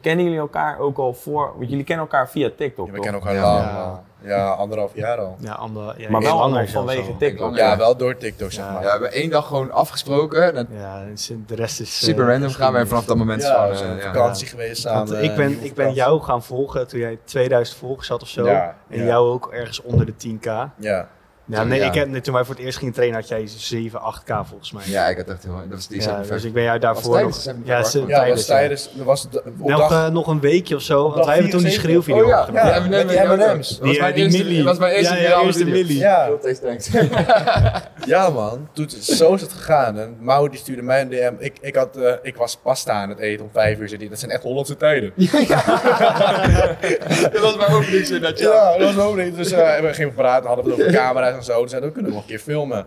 Kennen jullie elkaar ook al voor? Want jullie kennen elkaar via TikTok. Ja, we toch? kennen elkaar Ja. lang. Ja. Ja. anderhalf jaar al. Ja, ander, ja, maar iets wel langer allemaal zelfs vanwege al. TikTok. Ja, wel door TikTok, zeg Ja. maar. Ja, we hebben één dag gewoon afgesproken. En dan Ja, en zin- de rest is... eh, super random gaan we geschiedenis. en vanaf eh, dat moment Ja, we gewoon... zijn op eh, ja. vakantie geweest samen. Want ik ben, ik ben jou gaan volgen toen jij 2000 volgers had of zo. Ja, en ja. jou ook ergens onder de 10k. Ja. Ja, nee, Ja. Ik heb, nee, toen wij voor het eerst gingen trainen had jij 7, 8k volgens mij. ja, ik had echt heel... Dat was die Ja, ja, dus ik ben jou daarvoor Was nog... tijdens de ja, Seven ze- Park. Ja, was tijdens, ja. tijdens... Was het op Nog, dag- eh, nog een weekje of zo, want dag wij hebben toen die 74. schreeuwvideo Oh, ja, gemaakt. ja, met die M&M's. Dat was Die, mijn eh, die eerste, milli. dat was mijn eerste Ja, ja, virale eerste video. milli. Ja. Heel taste thanks. Ja, man. Toen, zo is het gegaan. En Mau die stuurde mij een DM. Ik, ik, had, eh, ik was pasta aan het eten om vijf uur. Zei die, dat zijn echt Hollandse tijden. Dat was mijn opening dat ja. Ja, dat was ook niet. Dus eh, we gingen praten, hadden we het over camera's en zo. Toen zeiden we, we kunnen nog een keer filmen.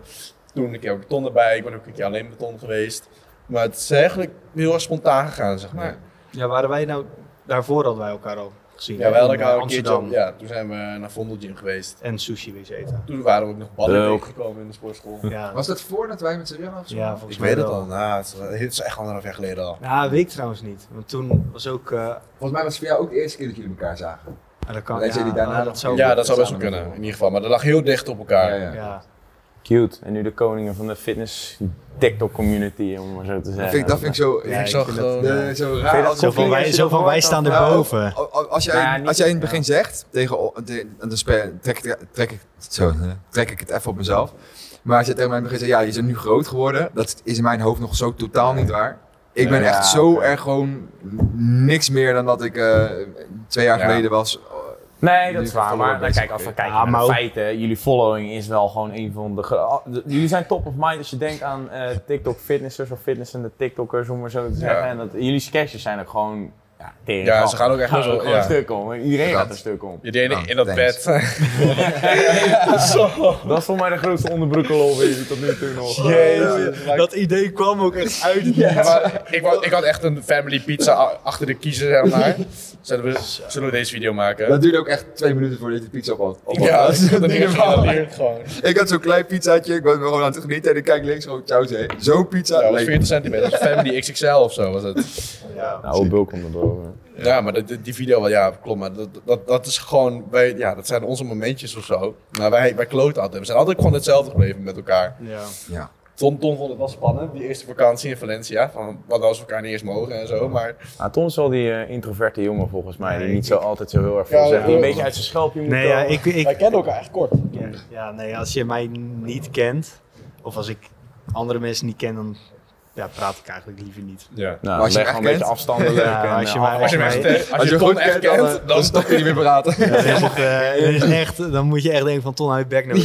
Toen een keer ook de ton erbij. Ik ben ook een keer alleen met de ton geweest. Maar het is eigenlijk heel erg spontaan gegaan, zeg maar. Ja, waren wij nou... Daarvoor hadden wij elkaar al gezien. Ja, wel in, hadden eh, elkaar een keertje Amsterdam. op. Ja, toen zijn we naar Vondel Gym geweest. En sushi wees eten. Toen waren we ook nog ballen Leuk. gekomen in de sportschool. Ja, Was dat voordat wij met z'n drieën afspraken? ja volgens mij wel. Nou, het is- het is echt anderhalf jaar geleden al. Ja, weet ik trouwens niet. Want toen was ook... eh, Volgens mij was het voor jou ook de eerste keer dat jullie elkaar zagen. ah, dat kan, Wij ja, zijn die daarna ah, nog- dat zou... Ja, dat zou best wel Samen kunnen, met in ieder geval. Maar dat lag heel dicht op elkaar. ja. Ja. Cute. En nu de koningen van de fitness TikTok community, om het maar zo te Dat zeggen. vind ik, dat vind ik zo... Ja, ik zag vind gewoon- dat, eh, eh, zo Vind je raar. dat als- zo van, wij, zo van wij staan erboven. Al- al- Als Nou ja, jij, niet- als jij in het ja. begin zegt, tegen, o- de- dan spe- trek, ik- trek, ik, zo, hè, trek ik het even op mezelf. Maar als je tegen mij in het begin zegt, ja, je bent nu groot geworden. Dat is in mijn hoofd nog zo totaal niet waar. Ik ben Ja, echt zo oké. erg gewoon niks meer dan dat ik eh, twee jaar Ja. geleden was. Nee, dat Nu is waar. vervallen Maar we nou, best kijk, als we oké. kijken Ah, naar maar de ook- feiten, jullie following is wel gewoon een van de, gro- ah, de- Jullie zijn top of mind als je denkt aan eh, TikTok fitnessers of fitnessende TikTokkers, om maar zo te zeggen. En dat, jullie sketches zijn ook gewoon... Ja, tering Ja, grappig. ze gaan ook echt Gaan best er wel... gewoon een Ja. stuk om. Iedereen Dat- gaat een stuk om. Je deed in Ah, dat thanks. bed. Zo. Dat is voor mij de grootste onderbroekenlol die jullie tot nu toe nog. Jezus. Dat idee kwam ook echt uit het Ja, maar ik, wou- ik had echt een family pizza a- achter de kiezer, zeg maar. Zullen we, zullen we deze video maken? Dat duurde ook echt twee minuten voordat de pizza op had. op Ja, had. dat is Dat duurde wel. gewoon. Ik had zo'n klein pizzaatje, ik was me gewoon aan het genieten en ik kijk links gewoon, ciao zee. Zo'n pizza, Ja, dat was leek- 40 centimeter. Dat was family XXL of zo was het. Nou, Bul komt er boven. Ja, maar dat- die video, wel, ja, klopt. Maar dat, dat, dat is gewoon, wij, ja, dat zijn onze momentjes of zo. Maar wij, wij kloten altijd. We zijn altijd gewoon hetzelfde gebleven met elkaar. Ja. Ja. Tom, Tom vond het wel spannend, die eerste vakantie in Valencia. Van wat als we elkaar niet eens mogen en zo. Maar Nou, Tom is wel die eh, introverte jongen volgens mij, die Nee, niet zo altijd zo heel erg Ja, veel zegt. Die een ja. beetje uit zijn schelpje moet Nee, ja, komen. ik, ik, wij kennen elkaar echt kort. ja, nee, als je mij niet kent, of als ik andere mensen niet ken, dan ja, praat ik eigenlijk liever niet. Ja. Nou, Maar als je leg hem gewoon echt een beetje kent? afstandelijk. Ja, en, als je eh, mij- Als je, Maar- mensen, als je, Als je Tom goed echt kent, kent, dan, dan, eh, dan stop je niet meer praten. Dan, mag, eh, dan is echt, dan moet je echt denken van Ton uit bek nou.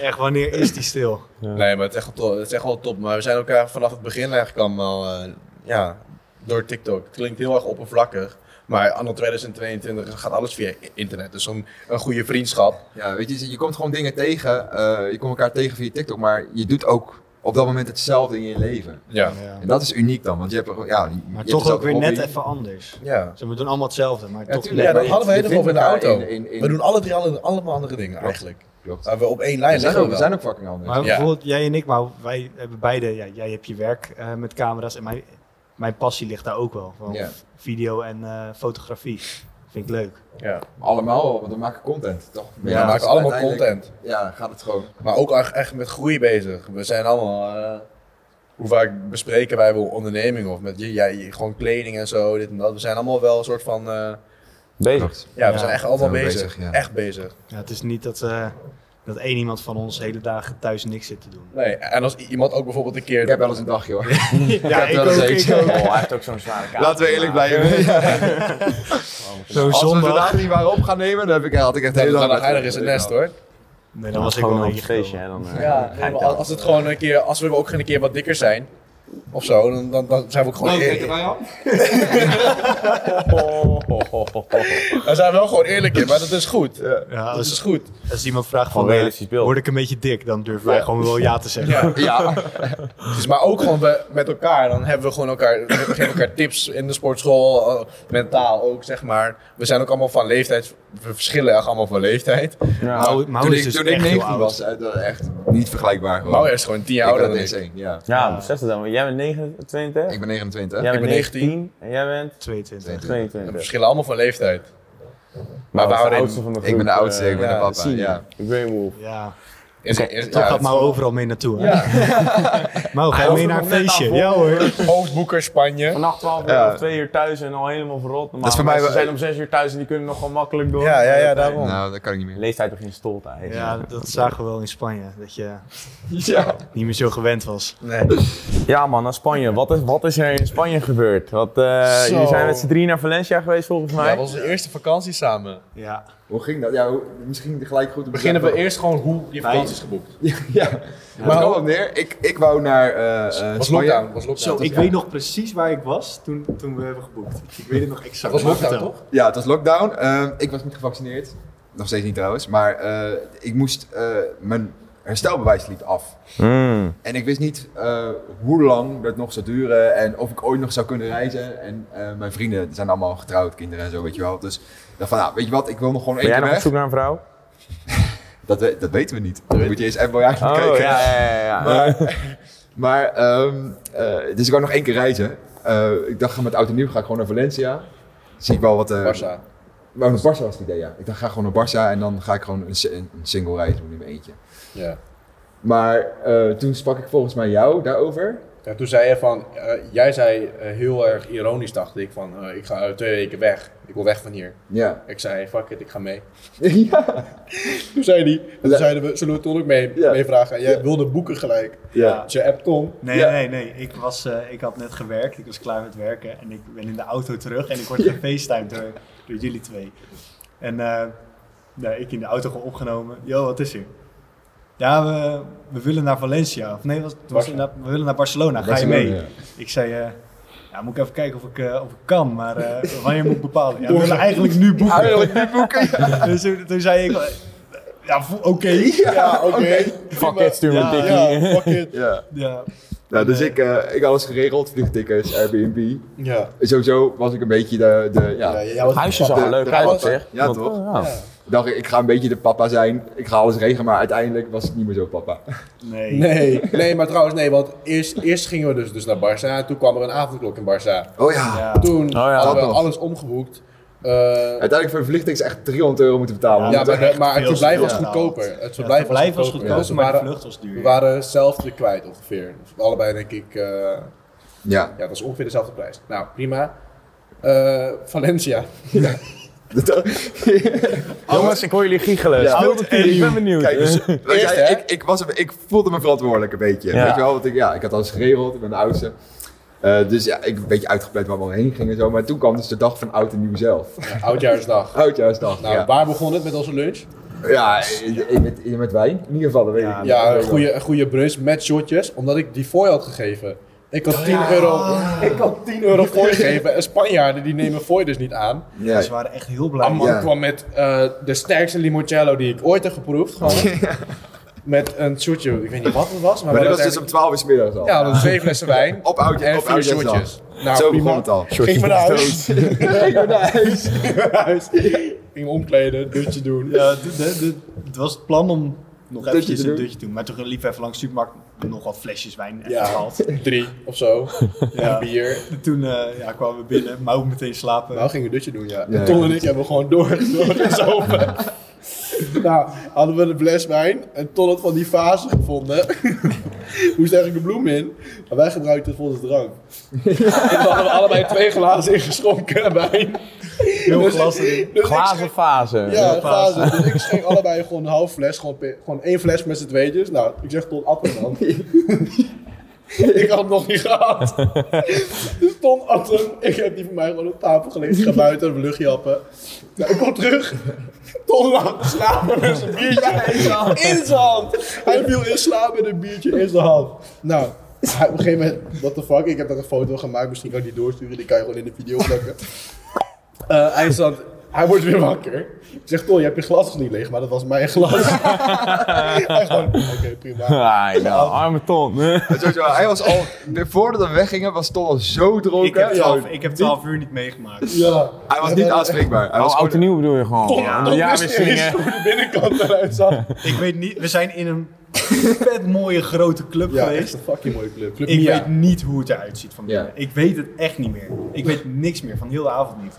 Echt, wanneer is die stil? Nee, maar het is, echt wel top, het is echt wel top. Maar we zijn elkaar vanaf het begin eigenlijk allemaal eh, ja, door TikTok. Het klinkt heel erg oppervlakkig. Maar anno 2022 gaat alles via internet. Dus zo'n een goede vriendschap. Ja, weet je, je komt gewoon dingen tegen. eh, je komt elkaar tegen via TikTok, maar je doet ook op dat moment hetzelfde in je leven. Ja. Ja. En dat is uniek dan, want je hebt er gewoon- ja, je- je Maar hebt toch ook dezelfde weer net hobby. even anders. Ja. Ze doen allemaal hetzelfde, maar toch tuurlijk, ja, net. dat je- hadden we je helemaal vindt in de elkaar auto. in- in- We doen alle drie alle- allemaal andere dingen eigenlijk. Klopt. Maar we op één lijn We zijn, liggen ook, we wel. zijn ook fucking anders. Maar Ja. bijvoorbeeld jij en ik, maar wij hebben beide, ja, jij hebt je werk eh, met camera's en mijn, mijn passie ligt daar ook wel. Van Ja. Video en eh, fotografie. Vind ik leuk. ja. Allemaal wel, want we maken content, toch? We Ja, dus maken allemaal uiteindelijk- content. Ja, gaat het gewoon. Maar ook echt- echt met groei bezig. We zijn allemaal... eh, hoe vaak bespreken wij wel ondernemingen of met jij gewoon kleding en zo, dit en dat. We zijn allemaal wel een soort van... eh, Bezig. Ja, we Ja, zijn echt allemaal zijn we bezig. bezig, ja. Echt bezig. Ja, het is niet dat, eh, dat één iemand van ons hele dagen thuis niks zit te doen. Nee, en als i- iemand ook bijvoorbeeld een keer... Ik heb wel eens een dagje hoor. ja, heb wel eens eentje. Oh, hij heeft ook zo'n zware kaart. Laten we eerlijk blijven. Zo'n Als we zondag. vandaag niet waren op gaan nemen, dan heb ik, had ik echt Ja, heel dan lang lag hij er in zijn nest hoor. Nee, dan Dan was ik wel gewoon een een feestje. Hè, dan, eh, Ja, ga je maar tellen. als het gewoon een keer, als we ook een keer wat dikker zijn, of zo, dan, dan, dan zijn we ook gewoon... eerlijk. Oh, oh, oh, oh, oh. Daar zijn we wel gewoon eerlijk in, maar dat is goed. Ja, dat als- is goed. Als iemand vraagt Gewoon van, eh, realistisch beeld. word ik een beetje dik, dan durven wij gewoon wel ja te zeggen. Ja. Ja, Dus, maar ook gewoon we- met elkaar, dan hebben we gewoon elkaar, we geven elkaar tips in de sportschool, eh, mentaal ook zeg maar. We zijn ook allemaal van leeftijd, we verschillen echt allemaal van leeftijd. Ja. Maar hoe- maar toen hoe is ik, dus toen ik echt heel 19 oud. was, eh, dat echt niet vergelijkbaar. gewoon. Mauer is gewoon tien jaar ik ouder had dan eens ik. één, ja. Ja, besef het dan. want Jij bent 29, 22? Ik ben 29. jij ik bent ben 19. en jij bent 22. 22. We verschillen allemaal van leeftijd. Maar Nou, we dat is de houden in- oudste van de groep. ik ben de oudste, eh, ik ben ja, de papa. senior. Ja. Grey Wolf. Ja, Is, is, toch ja, gaat Mau overal mee naartoe. Hè? Mau, ga je mee naar een feestje? Ja hoor. hoofdboeker Spanje. Vannacht 12 uur Ja. of 2 uur thuis en al helemaal verrot. Normaal Dat is voor mij mensen wel- zijn om 6 uur thuis en die kunnen nog gewoon makkelijk door. Ja, ja, ja, daarom. Nou, dat kan ik niet meer. Leeftijd begint stol te eisen. Ja, dat zagen we wel in Spanje. Dat je Ja. niet meer zo gewend was. Nee. Ja man, naar Spanje. Wat is, wat is er in Spanje gebeurd? Wat, eh, Zo. jullie zijn met z'n drie naar Valencia geweest volgens mij. Dat was onze eerste vakantie samen. Ja. Hoe ging dat? Ja, hoe- misschien gelijk goed te Beginnen we eerst gewoon hoe je vakantie is geboekt. Ja, maar het kwam op neer. Ik, ik wou naar eh eh was Spanje. lockdown. Was lockdown. Zo, Dat ik was- weet nog precies waar ik was toen, toen we hebben geboekt. Ik weet het nog Dat exact. was Maar lockdown, vertel. toch? Ja, het was lockdown. Eh, ik was niet gevaccineerd. Nog steeds niet trouwens. Maar eh, ik moest... eh, mijn herstelbewijs liep af. Mm. En ik wist niet eh, hoe lang dat nog zou duren en of ik ooit nog zou kunnen reizen. En eh, mijn vrienden zijn allemaal getrouwd, kinderen en zo, weet je wel. Dus ik dacht van, nou, weet je wat, ik wil nog gewoon Ben één jij keer nog op zoek weg. naar een vrouw? Dat, we- dat weten we niet. Dan moet je eens even eigenlijk Oh, kijken. ja, ja, ja. ja. Maar, maar ehm, eh, dus ik wou nog één keer reizen. Eh, ik dacht, ga met oud en nieuw ga ik gewoon naar Valencia. Zie ik wel wat... eh Barca. Oh, naar Barça was het idee, ja. Ik dacht, ga gewoon naar Barça en dan ga ik gewoon een, si- een single reis doen in mijn eentje. Ja. Maar eh, toen sprak ik volgens mij jou daarover. Ja, toen zei je van, eh, jij zei eh, heel erg ironisch, dacht ik, van eh, ik ga eh, twee weken weg. Ik wil weg van hier. Ja. Ik zei, fuck it, ik ga mee. ja. Toen zei die, toen Ja. zeiden we, zullen we het ook mee, Ja. meevragen? En jij wilde boeken gelijk. Ja. Dus je app kon. Nee, Ja. nee, nee. Ik, was, eh, ik had net gewerkt. Ik was klaar met werken. En ik ben in de auto terug. En ik word gefacetimed door, door jullie twee. En eh, nou, ik in de auto gewoon opgenomen. Yo, wat is er? Ja, we, we willen naar Valencia. Of nee, was, het was het Barca. naar- we willen naar Barcelona. Ga je mee? Barcelona, ja. Ik zei... eh, ja, moet ik even kijken of ik, eh, of ik kan, maar eh, wanneer moet ik bepalen? Ja, we willen eigenlijk nu boeken. Eigenlijk nu boeken. Dus toen, toen zei ik, eh, ja, vo- oké. Ja. Ja, oké. Fuck it, stuur me Ja, een tikkie. Ja, fuck it. Ja. Nou, dus ik, eh, ik had alles geregeld, vliegtickets, Airbnb. Ja. Sowieso was ik een beetje de, de ja, Ja, jij was- Huisje zag er De- leuk de uit op papa. zich. Ja, Want- Oh. toch? ja. Ja. dacht ik, ik ga een beetje de papa zijn. Ik ga alles regelen, maar uiteindelijk was het niet meer zo papa. Nee. Nee, nee, maar trouwens, nee, want eerst, eerst gingen we dus, dus naar Barça. En toen kwam er een avondklok in Barça. Oh ja. Ja. Toen ja, hadden we dat nog. alles omgeboekt. Eh, Uiteindelijk voor een vliegtickets echt 300 euro moeten ja, betalen. Ja, maar, maar het veel verblijf te was duur. goedkoper. Het Ja, het verblijf verblijf was was goedkoper. Dus goedkoop, we maar de waren, vlucht was we duur. waren hetzelfde kwijt ongeveer. Dus allebei denk ik, eh, ja. ja, dat was ongeveer dezelfde prijs. Nou, prima. Eh, Valencia. Jongens, ik hoor jullie giechelen. Ja. Speelt het hier? Ik ben benieuwd. Kijk, dus, weet je, Eerst, hè? ik, ik, was, een- ik voelde me verantwoordelijk een beetje. Ja. Weet je wel, want ik, ja, ik had alles geregeld, ik ben de oudste. Eh, dus ja, ik ben een beetje uitgepland waar we heen gingen en zo. Maar toen kwam dus de dag van oud en nieuw zelf. Ja, oudjaarsdag. Oudjaarsdag, Nou, ja. waar begon het met onze lunch? Ja, eh, met, met wijn. In ieder geval, dat weet Ja, ik niet. Ja, Dat een weet ik goede, een goede brunch met shotjes, omdat ik die fooi had gegeven. Ik had 10 euro, ik had 10 euro fooi gegeven en Spanjaarden die nemen fooi dus niet aan. wel. Ja. Ze waren echt heel blij. Amman Ja. kwam met eh, de sterkste limoncello die ik ooit heb geproefd, gewoon. Met een shotje, ik weet niet wat het was, maar, Maar we dat was dus hadden om 12 uur 's middags al. uiteindelijk- Ja, we hadden twee flessen wijn Op Oh, oud en op vier oudjaarsdag. shotjes. Nou, Zo prima. begon het al. Ging we naar huis, Ik ben naar huis. Ging naar huis. Ging me omkleden, dutje doen. Ja, d- d- d- het was het plan om nog Dutje eventjes te een doen. dutje te doen. Maar toen liep even langs de supermarkt, nog wat flesjes wijn even Ja. gehaald. Drie of zo, Ja. en bier. Toen eh, ja, kwamen we binnen, Mouw meteen slapen. Nou, gingen we dutje doen, ja. Ja. En Ton en ik hebben gewoon door, doorgezopen. nou, hadden we een fles wijn en Ton had van die fase gevonden. Moest eigenlijk een bloem in, maar wij gebruikten het volgens drank. en dan hadden we allebei twee glazen ingeschonken wijn. Heel Dus- glas erin. dus ik Glazen schenk- fase. Ja, glazen. glazen. Dus ik schenk allebei gewoon een half fles, gewoon, pe- gewoon één fles met z'n tweetjes. Nou, ik zeg Ton, appen dan. Ik had hem nog niet gehad. Dus Ton at hem. Ik heb die voor mij gewoon op tafel gelegd. Ik ga buiten, een luchtje happen. Nou, ik kom terug. Ton lag te slapen met zijn biertje in zijn hand. Hij viel in slaap met een biertje in zijn hand. Nou, hij- op een gegeven moment, what the fuck. Ik heb daar een foto gemaakt. Misschien kan ik die doorsturen. Die kan je gewoon in de video plakken. Eh, hij zat... Hij wordt weer wakker. Ik zeg, Ton, je hebt je glas nog niet leeg, maar dat was mijn glas. hij gewoon, oké, prima. Ah, ja, arme ton. Sowieso, hij was al, voordat we weggingen, was Tom al zo Ik dronken. heb, 12, ik heb 12 uur niet meegemaakt. Ja. Hij was niet aanspreekbaar. Hij was Oh, oud en gewoon... nieuw bedoel je gewoon. Ja. Een wist niet eens jaarwisselingen. hoe de binnenkant eruit zag. Ik weet niet, we zijn in een vet mooie grote club Ja, echt geweest. een fucking mooie club. Club Ik Mia. weet niet hoe het eruit ziet van Ja. binnen. Ik weet het echt niet meer. Ik weet niks meer, van heel de avond niet.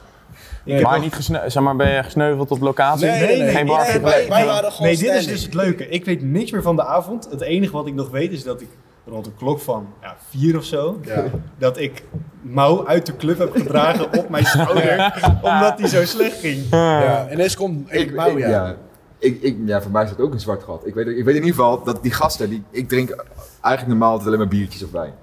Ik heb Maar, nog- niet gesneu- zeg maar ben je gesneuveld op locatie? Nee, nee, nee. Geen Nee, bar nee, gepleegd? wij- wij waren gewoon Nee, dit is standing. dus het leuke. Ik weet niks meer van de avond. Het enige wat ik nog weet is dat ik rond de klok van ja, vier of zo, Ja. dat ik mouw uit de club heb gedragen op mijn schouder, omdat die zo slecht ging. ja. En eens komt ik, Mouw, ja. Ik, ik, ja, voor mij is dat ook een zwart gat. Ik weet, ik weet in ieder geval dat die gasten, die, ik drink eigenlijk normaal altijd alleen maar biertjes of wijn.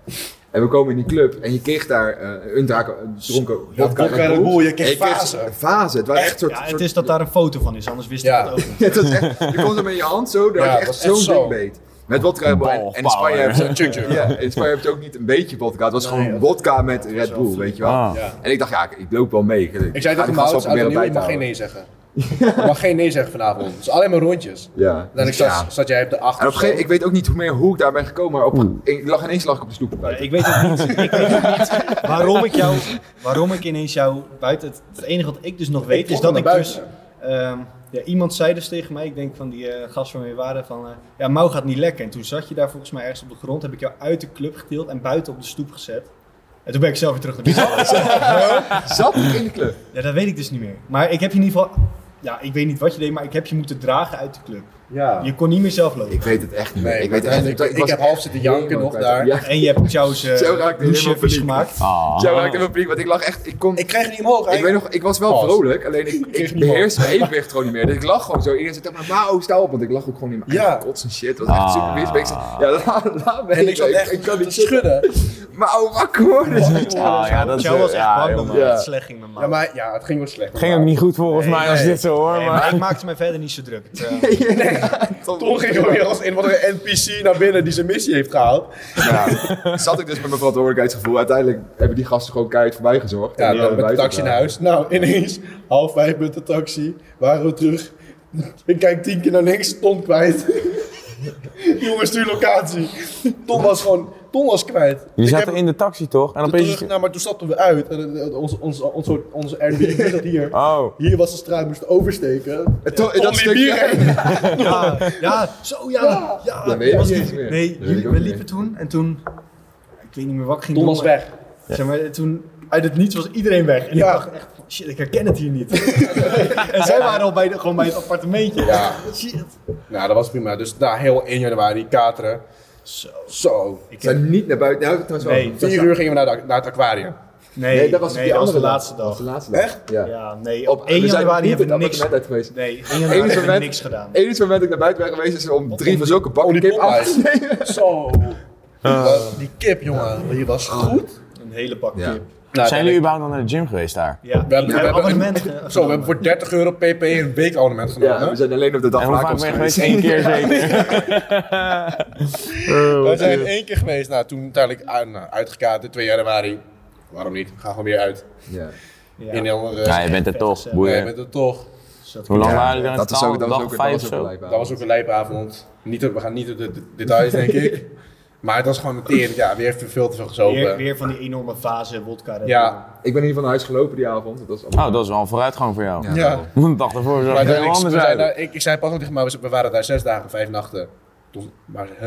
En we komen in die club en je kreeg daar eh, een draak, een dronken vodka vodka Red Red Bull. Bull, je En kreeg fase. een fase. Het was echt, soort, Ja, soort- het is dat daar een foto van is, anders wist Ja. ik het ook niet. Ja, het was echt, je kon zo met je hand zo, daar Ja, had je het echt was echt zo'n zo. dik beet. Met vodka Red Bull. En, en in Spanje Ballpower. hebben ze... Tjung, tjung. Ja, in Spanje heb je ook niet een beetje vodka. Het was Nee, gewoon dat- vodka met dat was Red wel Bull, flink. weet je wel. Ah. Ja. En ik dacht, ja, ik, ik loop wel mee. Ik zei ga die tegen gasten Mouw, het is wel oud en proberen nieuw, bij ik te mag geen houden. nee zeggen. Ik mag geen nee zeggen vanavond. Dus alleen maar rondjes. Ja. Dan ik Dus zat, ja. zat jij op de acht. En op een of gegeven zo. ik weet ook niet hoe meer hoe ik daar ben gekomen, maar Hmm. op, ik lag ineens lag ik op de stoep Ja, buiten. Ik weet het niet. Ik weet het niet. Waarom ik jou, waarom ik ineens jou buiten. Het, het enige wat ik dus nog weet is trok dat hem ik naar dus. ehm, ja, iemand zei dus tegen mij, ik denk van die eh gast waarmee we waren, van eh, ja, Mouw gaat niet lekker. En toen zat je daar volgens mij ergens op de grond, heb ik jou uit de club getild en buiten op de stoep gezet. En toen ben ik zelf weer terug naar binnen. Zat ik in de club? ja, dat weet ik dus niet meer. Maar ik heb je in ieder geval, ja, ik weet niet wat je deed, maar ik heb je moeten dragen uit de club. Ja. Je kon niet meer zelf lopen. Ik weet het echt niet meer. Nee, ik weet het echt niet ik, meer. ik was heb half zitten janken helemaal nog kwijt. daar. Ja, En je hebt jouw's Zo raakte ik uh, helemaal paniek. gemaakt. Ah. Zo raakte ik in paniek, want ik lag echt, ik kon... Ik krijg niet omhoog. Ik, weet nog, ik was wel Pas. vrolijk, alleen ik, ik niet beheerste mijn evenwicht gewoon niet meer. Dus ik lag gewoon zo. Iedereen zei, maar Mao, sta op. Want ik lag ook gewoon in mijn Ja. eigen kots en shit. Dat was echt Ah. super mis. Maar ik zei, ja, laat, laat me En ik zat echt kan te niet zitten. schudden. Mao, wakker worden. Ah, ja, dat is, Jou was echt ja, bang heel dat mooi. man. het slecht ging met Mouw. Ja, maar ja, het ging wel slecht. Het ging ook niet goed volgens Nee, mij als nee. dit zo hoor. Nee, maar... maar ik maakte mij verder niet zo druk. Eh, Toen ging er weer als een wat een NPC naar binnen die zijn missie heeft gehaald. Ja, zat ik dus met mijn verantwoordelijkheidsgevoel. Uiteindelijk hebben die gasten gewoon keihard voor mij gezorgd. Ja, En die dan hebben met de buiten taxi naar gedaan. huis. Nou, ineens, half vijf met de taxi, waren we terug. Ik kijk tien keer naar links, Ton kwijt. Jongens, stuur locatie. Ton was gewoon, Ton was kwijt. Je Ik zat heb er in de taxi toch? En hem opeens... terug, nou, maar toen stapten we uit. En, eh, eh, Ons, ons, ons, soort- onze Airbnb zat hier. Oh. Hier was de straat, moest oversteken. En toen- in Ton dat liep stukje... hierheen. Ja, ja, zo ja. Ja, Dat weet ik was niet niet- meer. Nee, Dat weet jullie- ik ook we niet. liepen toen en toen, ik weet niet meer wat ik ging Ton doen. was weg. maar- Zeg maar, toen, uit het niets was iedereen weg. En Ja. ik dacht echt, van, shit, ik herken het hier niet. en zij waren al bij de, gewoon bij het appartementje. Ja. Shit. Nou, dat was prima. Dus nou, heel 1 januari kateren. Zo. Zo. Ik Ik ben niet naar buiten. Nou, trouwens wel. Nee. Dat 4 sta- uur gingen we naar, de- naar het aquarium. nee, Nee, dat was op nee, die andere de dag. laatste Dat was dag. de laatste dag. Echt? Ja. Ja, nee, Op op 1 januari hebben we niks... Het uit geweest. Nee, 1 januari hebben we moment- niks gedaan. Eén moment dat ik naar buiten ben geweest is om om drie van die- zulke bakken om Oh, die kip af te Popeyes. snijden. Zo. Die kip, jongen. Die was goed. Een hele bak Ja. kip. Nou, Zijn jullie überhaupt nog naar de gym geweest daar? Ja, We hebben- we een hebben- abonnement. eh, Zo, we hebben voor 30 euro pp een weekabonnement Ja, we genomen. zijn alleen op de dag En van hoe vaak ben aankomst je geweest? Eén keer zeker. we zijn één keer geweest. Nou, toen uiteindelijk uit, nou, uitgekaterd, 2 januari. Waarom niet? Gaan gewoon weer uit. Ja. Ja. In een andere... Ja, je bent er toch. Boeien. Nee, met het toch. Zat- Hoe lang Ja, waren jullie daar in Dat was ook, dat was totaal? ook, Dag dat vijf was of ook zo? een lijpe Dat was ook een lijpavond. Niet, op- we gaan niet op de de details, denk ik. Maar het was gewoon een tering. Ja, weer veel te veel Weer, gezopen. weer van die enorme fase wodka. Red Bull. Ja, Ik ben in ieder geval naar huis gelopen die avond. Dat was allemaal... Oh, dat is wel een vooruitgang voor jou. Ja. ja. Een dag ervoor zag Maar het er heel uiteindelijk- anders we uit. zijn daar- ik, ik zei pas nog tegen maar we, we waren daar zes dagen, vijf nachten. Toen, maar, hè?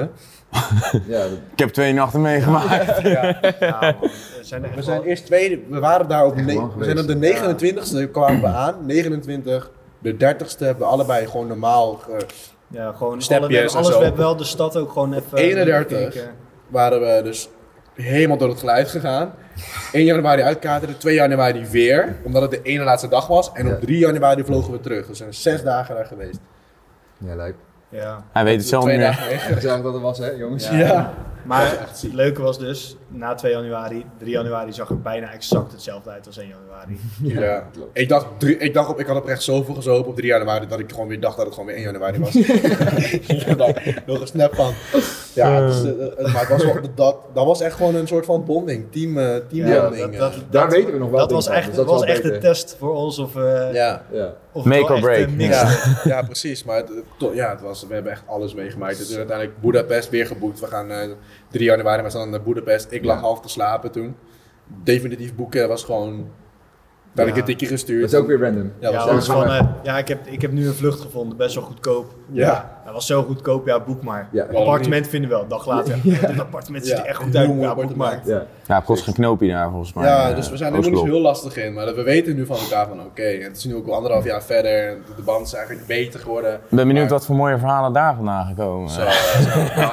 Ja, dat- Ik heb twee nachten meegemaakt. Ja, man. We zijn echt We zijn wel- eerst tweede, we waren daar op, ne- lang we zijn op de geweest. 29ste kwamen we aan, 29, de 30ste hebben we allebei gewoon normaal. ge- ja, gewoon Snapjes alle- we hebben en alles. zo. We hebben wel de stad ook gewoon even... 31. gekeken. waren we dus helemaal door het geluid gegaan. 1 januari uitkateren, 2 januari weer, omdat het de ene laatste dag was. En Ja. op 3 januari vlogen we terug. Dus we zijn zes dagen daar geweest. ja lijp. Ja. Hij weet het zelf Twee niet meer. dagen weg. Ik zag dat het was, hè, jongens? Ja. Ja. Maar het leuke was dus, na 2 januari, 3 januari zag er bijna exact hetzelfde uit als 1 januari. Ja. Ik, dacht, drie- ik, dacht op, ik had oprecht zoveel gezopen op 3 januari dat ik gewoon weer dacht dat het gewoon weer 1 januari was. ik had daar nog een snap van. Ja, dus, eh, eh, maar het was wel, dat, dat was echt gewoon een soort van bonding, team, eh, Ja, teambonding. eh. Daar weten we nog wel Dat dingen was van, echt, dus dat dat is was wel echt de beter. test voor ons of, eh ja. Ja. of Make het wel or echt, break. eh, niks Ja, ja, precies. Maar het, to- ja, het was, we hebben echt alles meegemaakt. Dus uiteindelijk Budapest weer geboekt. We gaan eh 3 januari, we staan naar Budapest. Ik lag Ja. half te slapen toen. Definitief boeken was gewoon Ben Ja. ik een tikje Dat gestuurd. is ook weer random. Ja, ja, dat ook want was- van, gewoon eh, ja ik, heb, ik heb nu een vlucht gevonden, best wel goedkoop. ja. Hij was zo goedkoop, ja, boek maar. Ja. Waarom appartement vinden we wel, een dag later. Het appartement ziet Ja, er echt goed uit, heel mooi ja, boek maar. appartement. Ja. Ja, het kost geen knoopje daar volgens mij. Ja, eh, dus we zijn er nog niet zo Oostblok. heel lastig in. Maar dat we weten nu van elkaar van oké, het is nu ook al anderhalf jaar verder. en De band is eigenlijk beter geworden. Ik ben benieuwd Maar- wat voor mooie verhalen daar vandaan gekomen. Zo, Nou,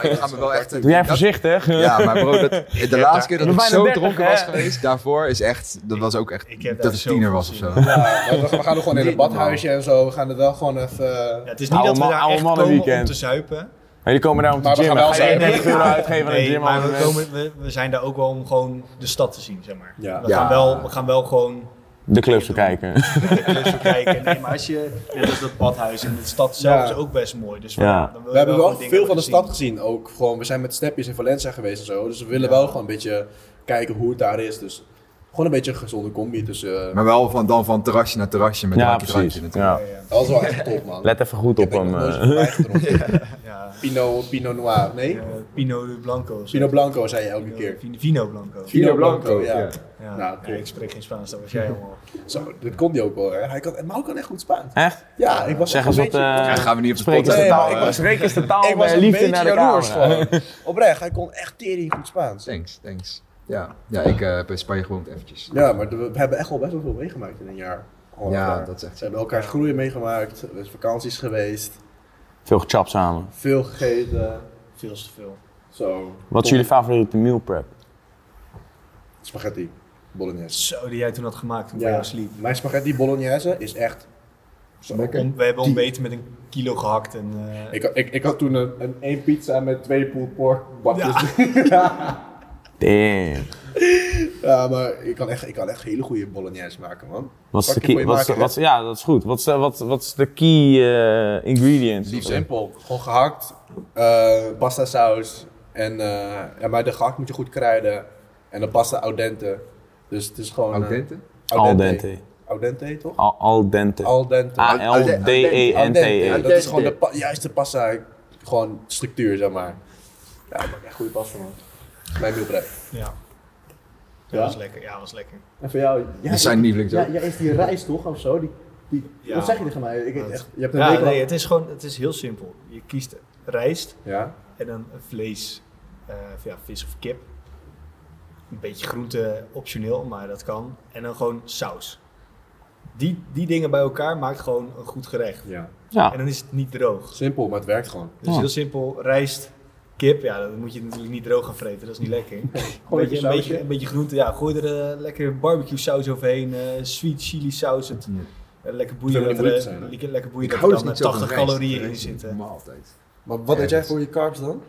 ik ga me wel echt... Doe jij dat- voorzichtig. Ja, maar bro, dat, de laatste keer dat Je ik bent bijna zo 30, dronken hè? was geweest, daarvoor is echt... Dat was ook echt... Ik heb Dat daar het zo tiener veel was of zin zo. in. ja, maar we gaan er gewoon in een Niet normaal. badhuisje en zo. We gaan er wel gewoon even... Ja, het is niet Oude dat we man- daar oude echt komen mannenweekend. om te zuipen. Maar jullie komen daar om te Maar we gymmen. gaan wel Ga je zijn. 30 euro uitgeven aan een Nee, gym maar we, abonnement? komen, we, we zijn daar ook wel om gewoon de stad te zien, zeg maar. Ja. We, Ja. Gaan wel, we gaan wel gewoon De clubs bekijken. de klus bekijken. Nee, maar als je, net als dat badhuis en de stad zelf Ja. is ook best mooi. Dus we, Ja. dan wil We je hebben wel gewoon dingen veel van de zien. stad gezien ook. Gewoon, we zijn met snapjes in Valencia geweest en zo. Dus we willen wel gewoon een beetje kijken hoe het daar is. Dus gewoon een beetje een gezonde combi dus, eh, tussen... Maar wel van, dan van terrasje naar terrasje met Ja, drankje, precies. drankje Ja. Ja, ja. dat was wel echt top, man. Let even goed Ik op heb hem. nog nooit eh. zo'n wijn gedronken. Ja, Pinot, Pinot Noir, nee? eh, Pino de Blanco. of zo. Pinot Blanco zei je elke Vino- keer. Vino- Vino Blanco. Vino Blanco, ja. Ja. Nou, Ja, cool. ik spreek geen Spaans, dat was jij helemaal. Zo, dat kon die ook wel. Hè? Hij kan, Mauw kan echt goed Spaans. Echt? Ja, ik was Zeg ook eens een wat... beetje... eh, Ja, gaan we niet op de Spreek podcast eens de Nee, taal. maar ik was- Spreek eens de taal ik was bij een eh, liefde beetje naar de jaloers camera. gewoon. Oprecht, hij kon echt tering goed Spaans. Thanks, thanks. Ja, ja ik eh, heb in Spanje gewoond eventjes. Ja, maar we hebben echt wel best wel veel meegemaakt in een jaar. Gewoon Ja, elkaar. dat is echt Ze hebben elkaars groeien meegemaakt, er is vakanties geweest, Veel gechapt samen. veel gegeten. Veel te veel. Zo. Wat is jullie favoriete meal prep? Spaghetti bolognese. Zo, die jij toen had gemaakt toen ik bij jou sliep. Mijn spaghetti bolognese is echt... Zo. Om- we hebben ontbeten met een kilo gehakt en... eh, Ik, ik, ik had toen een, een één pizza met twee pulled pork bakjes. Ja. Damn. maar ik kan, echt, ik kan echt hele goede bolognese maken, man. Wat is de Fucking goeie key? Wat is, maken, wat is- ja, dat is goed. Wat is, de- wat, wat is de key eh ingredient? Lief simpel. Gewoon gehakt, eh, pasta saus. En, eh, ja, maar de gehakt moet je goed kruiden. En de pasta al dente. Dus het is gewoon... eh, Au dente? Al dente. Al dente, toch? Al, al dente. Al dente. E Al E. dente. A-L-D-E-N-T-E. Dat is gewoon de pa- juiste pasta. Gewoon structuur, zeg maar. Ja, ik maak echt goede pasta, man. Mijn meal prep. ja. Ja? Dat was lekker, ja, was lekker. En voor jou... Dat zijn lievelings ook. jij is die rijst, toch? Of zo? Die, die, Ja. wat zeg je tegen mij? Ik, Dat- echt- je hebt Ja, nee, het is gewoon, het is heel simpel. Je kiest rijst Ja? en dan een vlees, eh, of ja, vis of kip. Een beetje groente optioneel, maar dat kan. En dan gewoon saus. Die, die dingen bij elkaar maakt gewoon een goed gerecht. ja. Ja, En dan is het niet droog. Simpel, maar het werkt gewoon. Dus Oh. heel simpel, rijst, kip, ja, dat moet je natuurlijk niet droog gaan vreten, dat is niet lekker. Een Gooi beetje, een, sausje. beetje, een beetje groente, ja, gooi er eh, lekker barbecue saus overheen, eh, sweet chili saus, het, Ja. eh, lekker boeien Zou dat niet er, moeilijk eh, zijn, hè? lekker- lekker boeien Ik dat hou er dus dan niet eh, zo van 80 rijst. calorieën Rijst in is zitten. normaal altijd. Maar wat eet jij voor je carbs dan?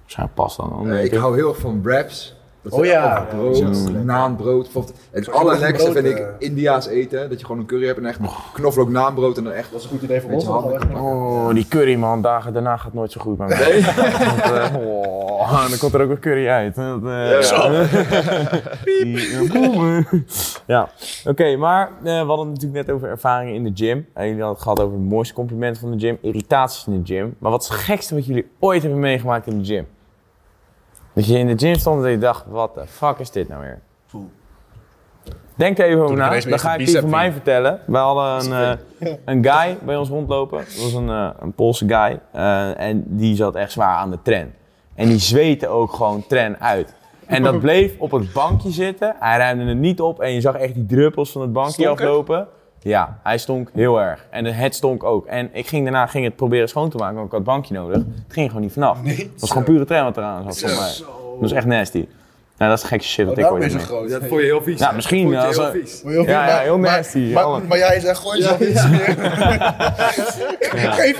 waarschijnlijk past dan. dan, Eh, denk ik hou heel erg van wraps. Dat Oh zijn ja. allemaal Ja, dat is ook brood, lekker. naanbrood. bijvoorbeeld. Het Zo'n allerlekste brood, vind eh. ik Indiaas eten. Dat je gewoon een curry hebt en echt knoflook naanbrood en dan echt... Dat is een goed idee voor Beetje ons. want we handig. gaan Oh, die curry man, dagen daarna gaat nooit zo goed bij mij. Want, eh, oh, dan komt er ook weer curry uit. Dat, eh, Ja. ja. Die, eh, boem. ja, oké, maar eh, we hadden het natuurlijk net over ervaringen in de gym. En jullie hadden het gehad over het mooiste compliment van de gym, irritaties in de gym. Maar wat is het gekste wat jullie ooit hebben meegemaakt in de gym? Dat je in de gym stond en dat je dacht, wat de fuck is dit nou weer? Poeh. Denk er even over ik na. ineens Dan ga mijn ik die van bicep mij ging. vertellen. We hadden een, eh, een guy bij ons rondlopen. Dat was een, eh, een Poolse guy. Eh, en die zat echt zwaar aan de tren. En die zweette ook gewoon tren uit. En dat bleef op het bankje zitten. Hij ruimde het niet op. En je zag echt die druppels van het bankje Stonk het? aflopen. Ja, hij stonk heel erg. En het stonk ook. En ik ging daarna ging het proberen schoon te maken, want ik had het bankje nodig. Het ging gewoon niet vanaf. het was gewoon pure tren wat eraan zat, volgens mij. Dat was echt nasty. Nou, dat is gekste shit Oh, wat ik daarom ooit is heb het mee- groot. Dat vond je heel vies. Ja, hè? misschien, eh, Vond je als heel een- vies. Maar heel Ja, veel- ja, heel maar- nasty, Maar, alle- maar, jij zegt, gooi jezelf iets meer. geef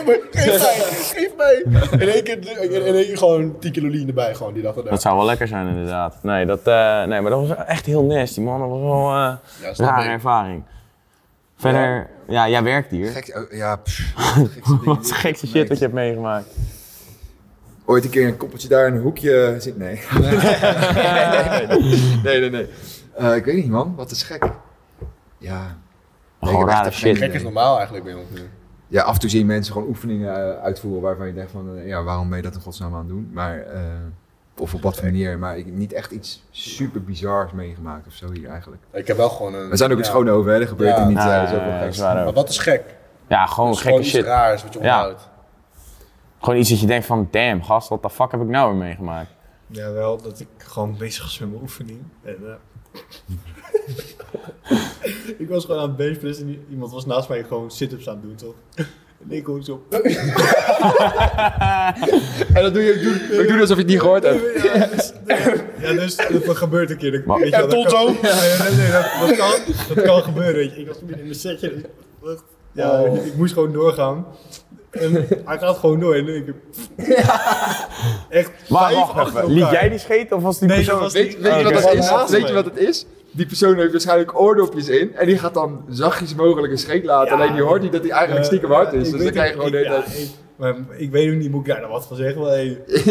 me, geef mij, geef mij. In één keer, in één keer gewoon 10 kilo lean erbij, gewoon die dag erna. Dat zou wel lekker zijn, inderdaad. Nee, dat, eh, nee maar dat was echt heel nasty, man. Dat was wel eh Ja, snap rare ik. ervaring. Verder, ja. jij werkt hier. Gek, oh, ja, pff, gekste dingen Wat is die de ik gekste heb shit dat gemaakt. je hebt meegemaakt? Ooit een keer een koppeltje daar in een hoekje eh, zit. Nee. nee, nee, nee. Eh, ik weet niet, man. Wat is gek. Ja. Nee, ik Gewoon heb echt rare even geen shit. Gek is idee. normaal eigenlijk bij ons nu. Ja, af en toe zie je mensen gewoon oefeningen eh, uitvoeren waarvan je denkt van, eh, ja, waarom ben je dat in godsnaam aan het doen? Maar eh, of op wat voor manier. Maar ik heb niet echt iets super bizars meegemaakt of zo hier eigenlijk. Ik heb wel gewoon een... We zijn ook ja. eens gewoon over, hè? Dat gebeurt Ja. er niet. Ja, eh, ja, zo veel ja, geks. zwaar Maar ook. wat is gek? Ja, gewoon Dat is Oh, gekke gewoon iets shit. raars wat je Ja. onthoudt. Gewoon iets dat je denkt van, damn gast, wat de fuck heb ik nou weer meegemaakt? Ja, wel dat ik gewoon bezig was met mijn oefening. En, eh, ik was gewoon aan het benchpressen en i- iemand was naast mij gewoon sit-ups aan het doen, toch? En ik hoor zo... En dat doe je, ik doe, ik doe alsof je het niet gehoord hebt. Ja, dus, ja, dus dat gebeurt een keer. Dan, Maar- weet je Ja, wel, dat tot kan- zo. Ja, ja, nee, nee, dat, dat kan, dat kan gebeuren, weet je. Ik was midden in mijn setje. dus- wacht. Ja, Oh. ik moest gewoon doorgaan. En hij gaat gewoon door en ik... Echt Maar vijf wacht achter even, liet elkaar. jij die scheet of was die Nee, Oh, dat persoon... was- Weet, weet je Oké. wat dat is? Naast Weet me. je wat het is? Die persoon heeft waarschijnlijk oordopjes in en die gaat dan zachtjes mogelijk een scheet laten. Ja. Alleen die hoort niet dat hij eigenlijk Eh, stiekem hard ja, is. ik Dus weet dan krijg je ook- gewoon de ik- hele tijd- ja, ik- Maar ik weet ook niet, moet ik daar nou wat van zeggen? Maar, hey, Nee,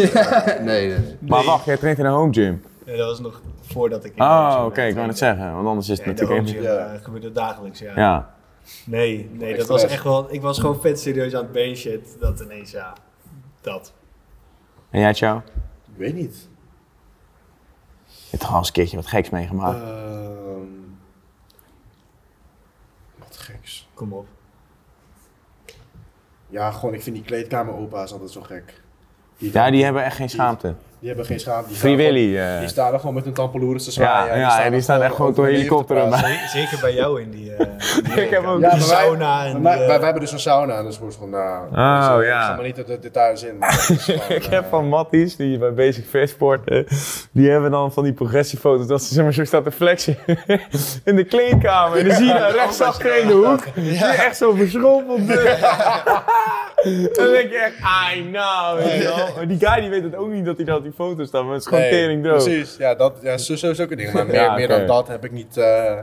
nee, nee. Maar nee. wacht, jij traint in een home gym. Ja, dat was nog voordat ik... in Oh, de oké, gym ik wou werd. net zeggen, want anders is Ja, het in de natuurlijk... home gym, even- Ja. eh, gebeurt het dagelijks, ja. Ja, Nee, nee, dat Express. was echt wel... Ik was gewoon vet serieus aan het benchen. Dat ineens, ja, dat. en jij Tjau? Ik weet niet. Je hebt gewoon eens een keertje wat geks meegemaakt. Ehm, wat geks. Kom op. Ja, gewoon, ik vind die kleedkamer opa's altijd zo gek. ja, die hebben echt geen schaamte. die hebben geen schaamte. Die Free staan gewoon- Willy. eh. Die staan er gewoon met hun tampeloeren te ja, zwaaien. ja, en die staan echt gewoon door over een hun helikopter heen te erbij. Ze- Zeker bij jou in die... eh, in die Ik heb ook- Ja, maar die wij- sauna en Maar wij, die, eh, wij hebben dus een sauna, dus wordt gewoon, nou... Oh, ik zeg- ja. Ik zeg maar niet dat het er thuis in... maar het is gewoon, Ik eh, heb van Matties, die bij Basic Fairsport, eh, die hebben dan van die progressiefoto's dat ze zeg maar, zo staat te flexen in de kleedkamer. En dan zie je daar rechtsachter in de hoek, zie je echt zo verschrompeld. eh. Dan denk je echt, I know, weet je wel. Maar die guy die weet het ook niet dat hij daar op die foto staat, maar het is gewoon nee, tering droog. Precies, ja, dat, ja zo, zo is ook een ding. Maar meer, Ja, meer oké. dan dat heb ik niet... eh, ik Ja,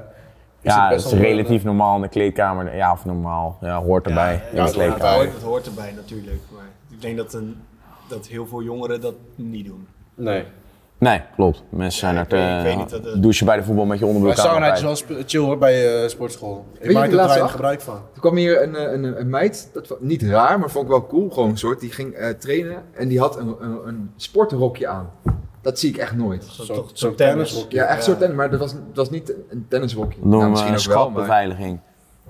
zit dat best is wel- relatief normaal in de kleedkamer. Ja, of normaal. Ja, hoort erbij Ja, in ja, de dat hoort kleedkamer. erbij. dat, hoort, dat hoort erbij natuurlijk. Maar ik denk dat, een, dat heel veel jongeren dat niet doen. eh, Nee. Nee, klopt. Mensen zijn Ja, er ik weet- ik weet niet te... eh, dat het- douchen bij de voetbal met je Maar onderbroek aan. sauna is altijd. wel sp- chill hoor, bij eh, sportschool. je Ik wat maak ik er laatst weinig zag? gebruik van. Toen kwam hier een, eh, een, een meid, dat vond- niet raar, maar vond ik wel cool, gewoon een soort. Die ging eh, trainen en die had een, een, een sportrokje aan. Dat zie ik echt nooit. Zo- Zo'n- toch- zo'n zo'n tennis. tennisrokje. Ja, echt Ja. soort tennis, maar dat was, dat was niet een tennisrokje. Noem nou, eh, misschien ook wel, maar... schotbeveiliging. Het is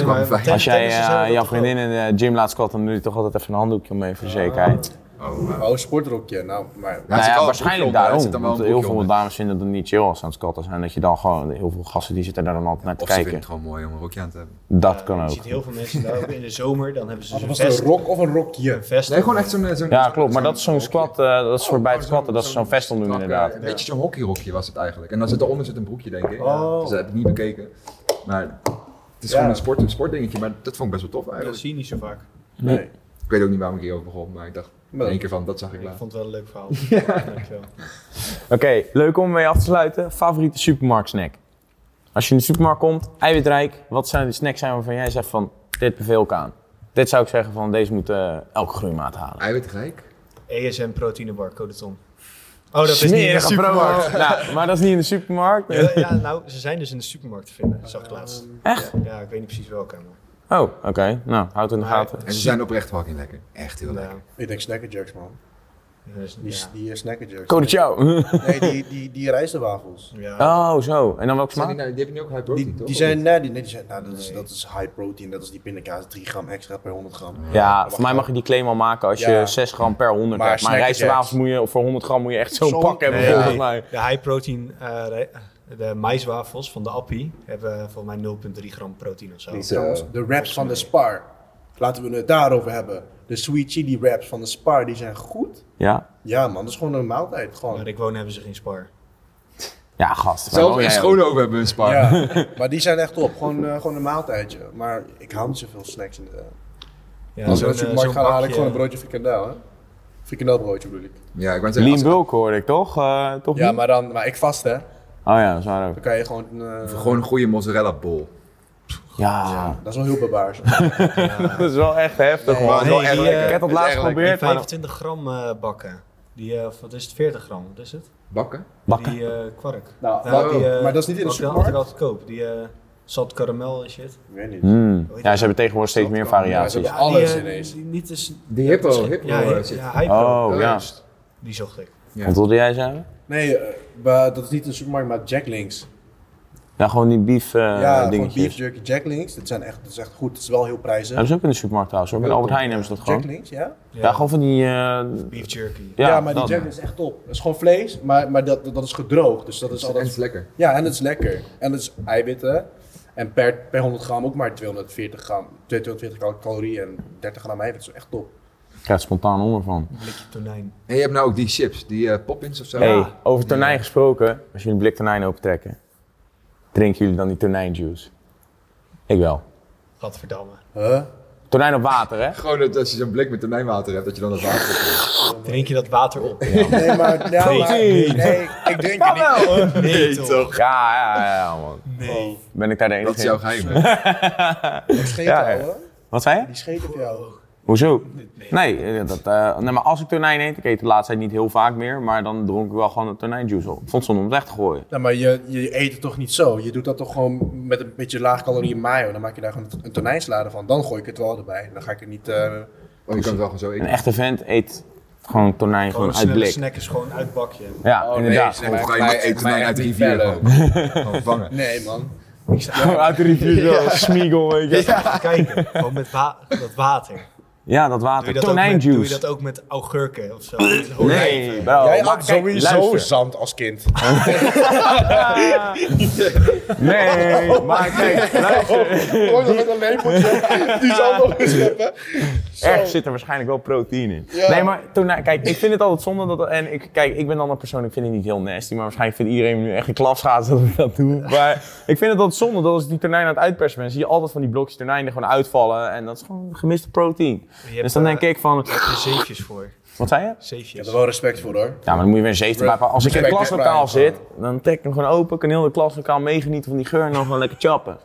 gewoon Nee, maar fijn. Als jij tennis is eh, zo, dat jouw toch vriendin in de gym laat squatten, dan doe je toch altijd even een handdoekje omheen voor de zekerheid. Oh, maar- Oh, sportrokje. Nou, maar... Ja, het Nou zit ja, wel waarschijnlijk een broekje onder, daarom. het zit dan wel want een heel broekje veel onder. dames vinden dat niet chill als ze aan het squatten zijn. Dat je dan gewoon, heel veel gasten die zitten daar dan altijd naar te Of ze vinden kijken. het gewoon mooi om een rokje aan te hebben. Dat kan Je ook. ziet heel veel mensen daar ook in de zomer, dan hebben ze dus Was zo'n het een vest. rok of een rokje? Een vest Nee, gewoon op. echt zo'n... eh, zo'n- Ja, klopt. Maar zo'n- Oh, dat is zo'n squat, eh, dat is voor bij het squatten, dat ze zo'n vest omdoen strakke- inderdaad. Een beetje zo'n hockeyrokje was het eigenlijk. En dan zit eronder zit een broekje, denk ik. Oh. Dus dat heb ik niet bekeken. Maar het is Ja. gewoon een, sport, een sportdingetje, maar dat vond ik best wel tof Dat eigenlijk. zie je niet zo vaak. Nee. Ik weet ook niet waarom ik hierover begon, Dus- maar ik dacht in Maar- één keer van, dat zag ik Ik later. vond het wel een leuk verhaal. Dankjewel. Oké, leuk om mee af te sluiten. Favoriete supermarkt snack? Als je in de supermarkt komt, eiwitrijk, wat zijn de snacks zijn waarvan jij zegt van, dit beveel ik aan? Dit zou ik zeggen van, deze moet eh, elke groeimaat halen. Eiwitrijk? ESM E proteïnebar, code Tom. Oh, dat is niet in de Smerige supermarkt. promo. nou, maar dat is niet in de supermarkt. Ja, ja, nou, ze zijn dus in de supermarkt te vinden, zag ik laatst. Echt? Ja, ik weet niet precies welke, maar... Oh, oké. Nou, houd het in de Maar- gaten. En ze zijn oprecht fucking lekker. Echt heel lekker. Nou, Ik denk snackerjacks, man. dus, Die, ja. die eh, snackerjacks. Code jou. Nee, die, die, die rijstwafels. Ja. Oh, zo. En dan welke Zijn die, smaak? nou, die heb je nu ook high protein, Die, toch? die zijn, nee, die, nee, die zijn, nou, dat, is, Nee. dat is high protein, dat is die pindakaas, 3 gram extra per 100 gram. nou- Ja, voor mij mag je die claim al maken als je Ja. 6 gram per 100 Maar hebt. Maar Snacker rijstwafels Jacks. moet je, voor 100 gram moet je echt zo'n Zo'n- pak hebben, Nee, volgens ja. mij. De high protein, eh, re- de maiswafels van de Appie, hebben volgens mij 0,3 gram proteïne of zo. Niet, eh, de wraps van de Spar, laten we het daarover hebben. De sweet chili wraps van de Spar, die zijn goed. Ja? Ja man, dat is gewoon een maaltijd. Maar Gewoon. ik woon hebben ze geen spar. Ja, gast. waar Zelfs woon in jij ook? Schoonhoven hebben we een spar. Ja, maar die zijn echt op, gewoon, eh, gewoon een maaltijdje. Maar ik hou niet zoveel snacks in de... Ja, Als ik zo'n, naar eh, de supermarkt zo'n ga, dan haal ik bakje- gewoon een broodje frikandel, hè. Frikandelbroodje bedoel ik. Ja, ik wou zeggen, Lean als- bulk hoorde ik toch? Eh, toch Ja, niet? maar dan, maar ik vast hè. Oh ja, dat is waar ook. Dan kan je gewoon... eh, gewoon een goede mozzarella bol. Ja, Dat is wel heel barbaars. dat is wel echt heftig, Nee, man. nee, die, eh, ik heb dat laatst is erg lekker. geprobeerd, Die maar... 25 gram eh, bakken. Die, eh, of wat is het, 40 gram, wat is het? Bakken? Bakken? Die eh, kwark. Nou, Nou, oh, die, eh, maar dat is niet in de wat ik altijd- supermarkt. altijd koop. Die eh, zat karamel en shit. Ik weet niet. Mm. Ja, ze hebben tegenwoordig steeds meer Ja, variaties. ze hebben alles die, eh, ineens. die niet is... Die hippo, dat is- hippo, Ja, eh, ja, zit. ja, hypo. Oh, ja. Die zocht ik. Ja. Wat wilde jij zeggen? Nee, eh, maar dat is niet een supermarkt, maar Jack Links. Ja, gewoon die beef eh ja, gewoon dingetjes. beef jerky Jack Links. Dat, zijn echt, dat is echt goed. Het is wel heel prijzig. Ja, dat is ook in de supermarkt trouwens hoor. Bij de Albert Heijn hebben ze dat Jack gewoon. Links, ja? Ja, gewoon van die... eh, Beef jerky. ja, Ja, maar die dat. Jack is echt top. Het is gewoon vlees, maar, maar dat, dat, dat is gedroogd. Dus dat is En het is altijd... lekker. Ja, en het is lekker. En het is eiwitten. En per, per 100 gram ook maar 240 gram, 240 cal- calorieën en 30 gram eiwitten. Dat is echt top. Ik krijg spontaan honger van. Een blikje tonijn. En je hebt nou ook die chips, die eh, poppins of zo. Hey, over tonijn gesproken. Als jullie een blik tonijn opentrekken, drinken jullie dan die tonijnjuice? Ik wel. Gadverdamme. Huh? Tonijn op water, hè? Gewoon dat als je zo'n blik met tonijnwater hebt, dat je dan dat water opkomt. Drink je dat water op? Nee, maar, nou, maar- Nee. nee, ik drink het niet. Oh, Nee, toch? Ja, ja, ja, ja, man. Nee. Ben ik daar de enige Dat is jouw in? geheim. hè? Die scheet Ja, ja. ouwe. Wat zei je? Die scheet op jou. Hoezo? Nee, eh, dat, eh, nee, maar als ik tonijn eet, ik eet de laatste tijd niet heel vaak meer, maar dan dronk ik wel gewoon een tonijnjuice op. Ik vond het zonde om het weg te gooien. Nou, maar je, je eet het toch niet zo? Je doet dat toch gewoon met een beetje laag calorieën mayo. Dan maak je daar gewoon een tonijnslade van. Dan gooi ik het wel erbij. Dan ga ik er niet... eh, Oh, je kan het wel gewoon zo Een eten. echte vent eet gewoon tonijn gewoon Gewoon uit snelle blik. snacken, gewoon uit bakje. Ja, Oh, inderdaad. nee, gewoon Of ga je maar Mij- eten tonijn mij uit de echt rivier niet gewoon. Gewoon vangen. Nee, man. gewoon uit de rivier zo, smiegel, weet je. Even kijken, gewoon met wa- dat water. Ja, dat Doe water. je dat, ook met, doe je Tonijnjuice. dat ook met augurken of zo? Nee, bro. Jij maar had kijk, Oh, sowieso luister. zand als kind. Nee, maar kijk, luister. Hoor je met een lepeltje die zand op scheppen? Oh, Ergens zit er waarschijnlijk wel proteïne in. Nee, maar tonijn, kijk, ik vind het altijd zonde dat... En ik, kijk, ik ben dan een persoon, ik vind het niet heel nasty, maar waarschijnlijk vindt iedereen me nu echt een klapschaats dat ik dat doe. Maar ik vind het altijd zonde dat als ik die tonijn aan het uitpersen ben, zie je altijd van die blokjes tonijn er gewoon uitvallen. En dat is gewoon gemiste proteïne. hebt, Dus dan denk eh, ik van... Daar heb je zeefjes voor. Wat zei je? Ik heb Zeefjes. er wel respect voor hoor. Ja, maar dan moet je weer een zeef erbij pakken. Als ik in het Respect klaslokaal erbij. zit, dan trek ik hem gewoon open. Kan heel de klaslokaal meegenieten van die geur en dan gewoon lekker chappen.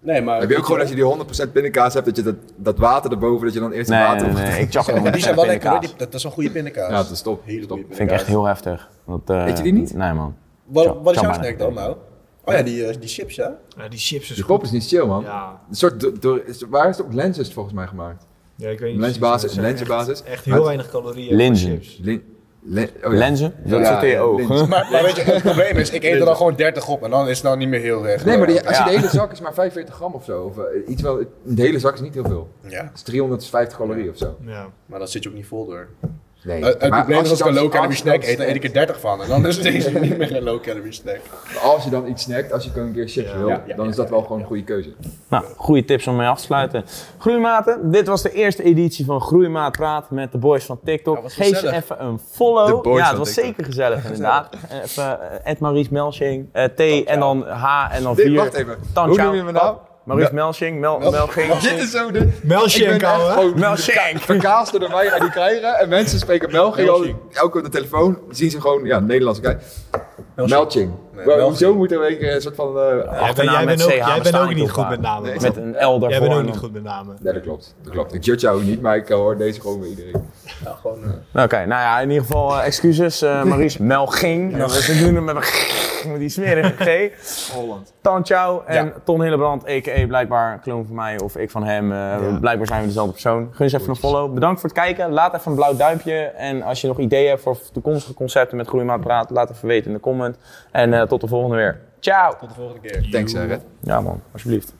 Nee, maar... Heb je ook gewoon als je die 100% pindakaas hebt, dat je dat, dat water erboven, dat je dan eerst het Nee, water nee, op- nee, ik chap hem. Die zijn wel lekker hoor. Dat Die- Dat dat is een goede pindakaas. Ja, dat is top. Hele goede Top. vind ik echt heel heftig. Dat, eh, Eet je die niet? Oh Nee, man. Wat, wat is jouw Chamba. snack dan nou? Oh ja, die, eh, die chips ja? Ja, die chips is Die goed. pop is niet chill, man. Ja. Een soort, door- door- is- waar is het op Lens is het volgens mij gemaakt? ja, ik weet niet. Lensbasis, precies, maar het zijn lensbasis. Echt, echt heel Maar- weinig calorieën. Linzen. voor chips. Lin, Len- oh ja. Lenzen? Dat Ja, zit in je ja, oog. lens. Maar, maar weet je, het probleem is, ik eet er dan gewoon 30 op en dan is het nou niet meer heel erg. Nee, maar die, als je Ja. de hele zak is maar 45 gram of zo. Of, eh, iets wel, de hele zak is niet heel veel. Ja, Dat is 350 calorieën of zo. Ja. maar dan zit je ook niet vol door. Nee. Het Eh, het maar probleem is als ik je een dan- low calorie als je dan snack eet, dan eet ik er 30 van. En dan is het ineens niet meer een low calorie snack. snackt- Als je dan iets snackt, als je gewoon een keer chips Ja. wil, Ja, ja, dan is dat wel gewoon een goede keuze. Nou, goede tips om mee af te sluiten. Groeimaten, dit was de eerste editie van Groeimaat Praat met de boys van TikTok. Ja, wat Geef ze gezellig. even een follow. De boys ja, het van was TikTok. zeker gezellig inderdaad. Even eh, Ed Maurice Melching, eh, T en dan H en dan 4. Oh, wacht even. Hoe noem je me nou? Maurice Melching, Mel, Melching. Dit is zo de... Ik ben Melsje echt en gewoon Melching. verkaasd door mij en die krijgen. En mensen spreken België al, elke keer op de telefoon. Zien ze gewoon, ja, Nederlands. Kijk, Melching. Nee, Wow, Melching. Hoezo moet er weer een soort van... eh, Achternaam Jij met bent ook, CH jij bent bestaan ook niet niet op goed waar. met namen. Nee. Met een L daarvoor. Jij bent ook en niet dan- goed met namen. Ja, dat klopt. Dat klopt. Ik judge jou niet, maar ik eh, hoor deze gewoon bij iedereen. Ja, gewoon... eh, Oké, nou ja, in ieder geval eh, excuses. eh Maurice Melging. Ja. We doen hem met, een met die smerige G. Holland. Tan Chau en Ja. Ton Hillebrand, a.k.a. blijkbaar kloon van mij of ik van hem. Eh, Blijkbaar zijn we dezelfde persoon. Gun eens even een follow. Bedankt voor het kijken. Laat even een blauw duimpje. En als je nog ideeën hebt voor toekomstige concepten met Groeimaat Praat, laat even weten in de comment. En eh, tot de volgende weer. Ciao! Tot de volgende keer. Thanks, eh, Red. Ja man, alsjeblieft.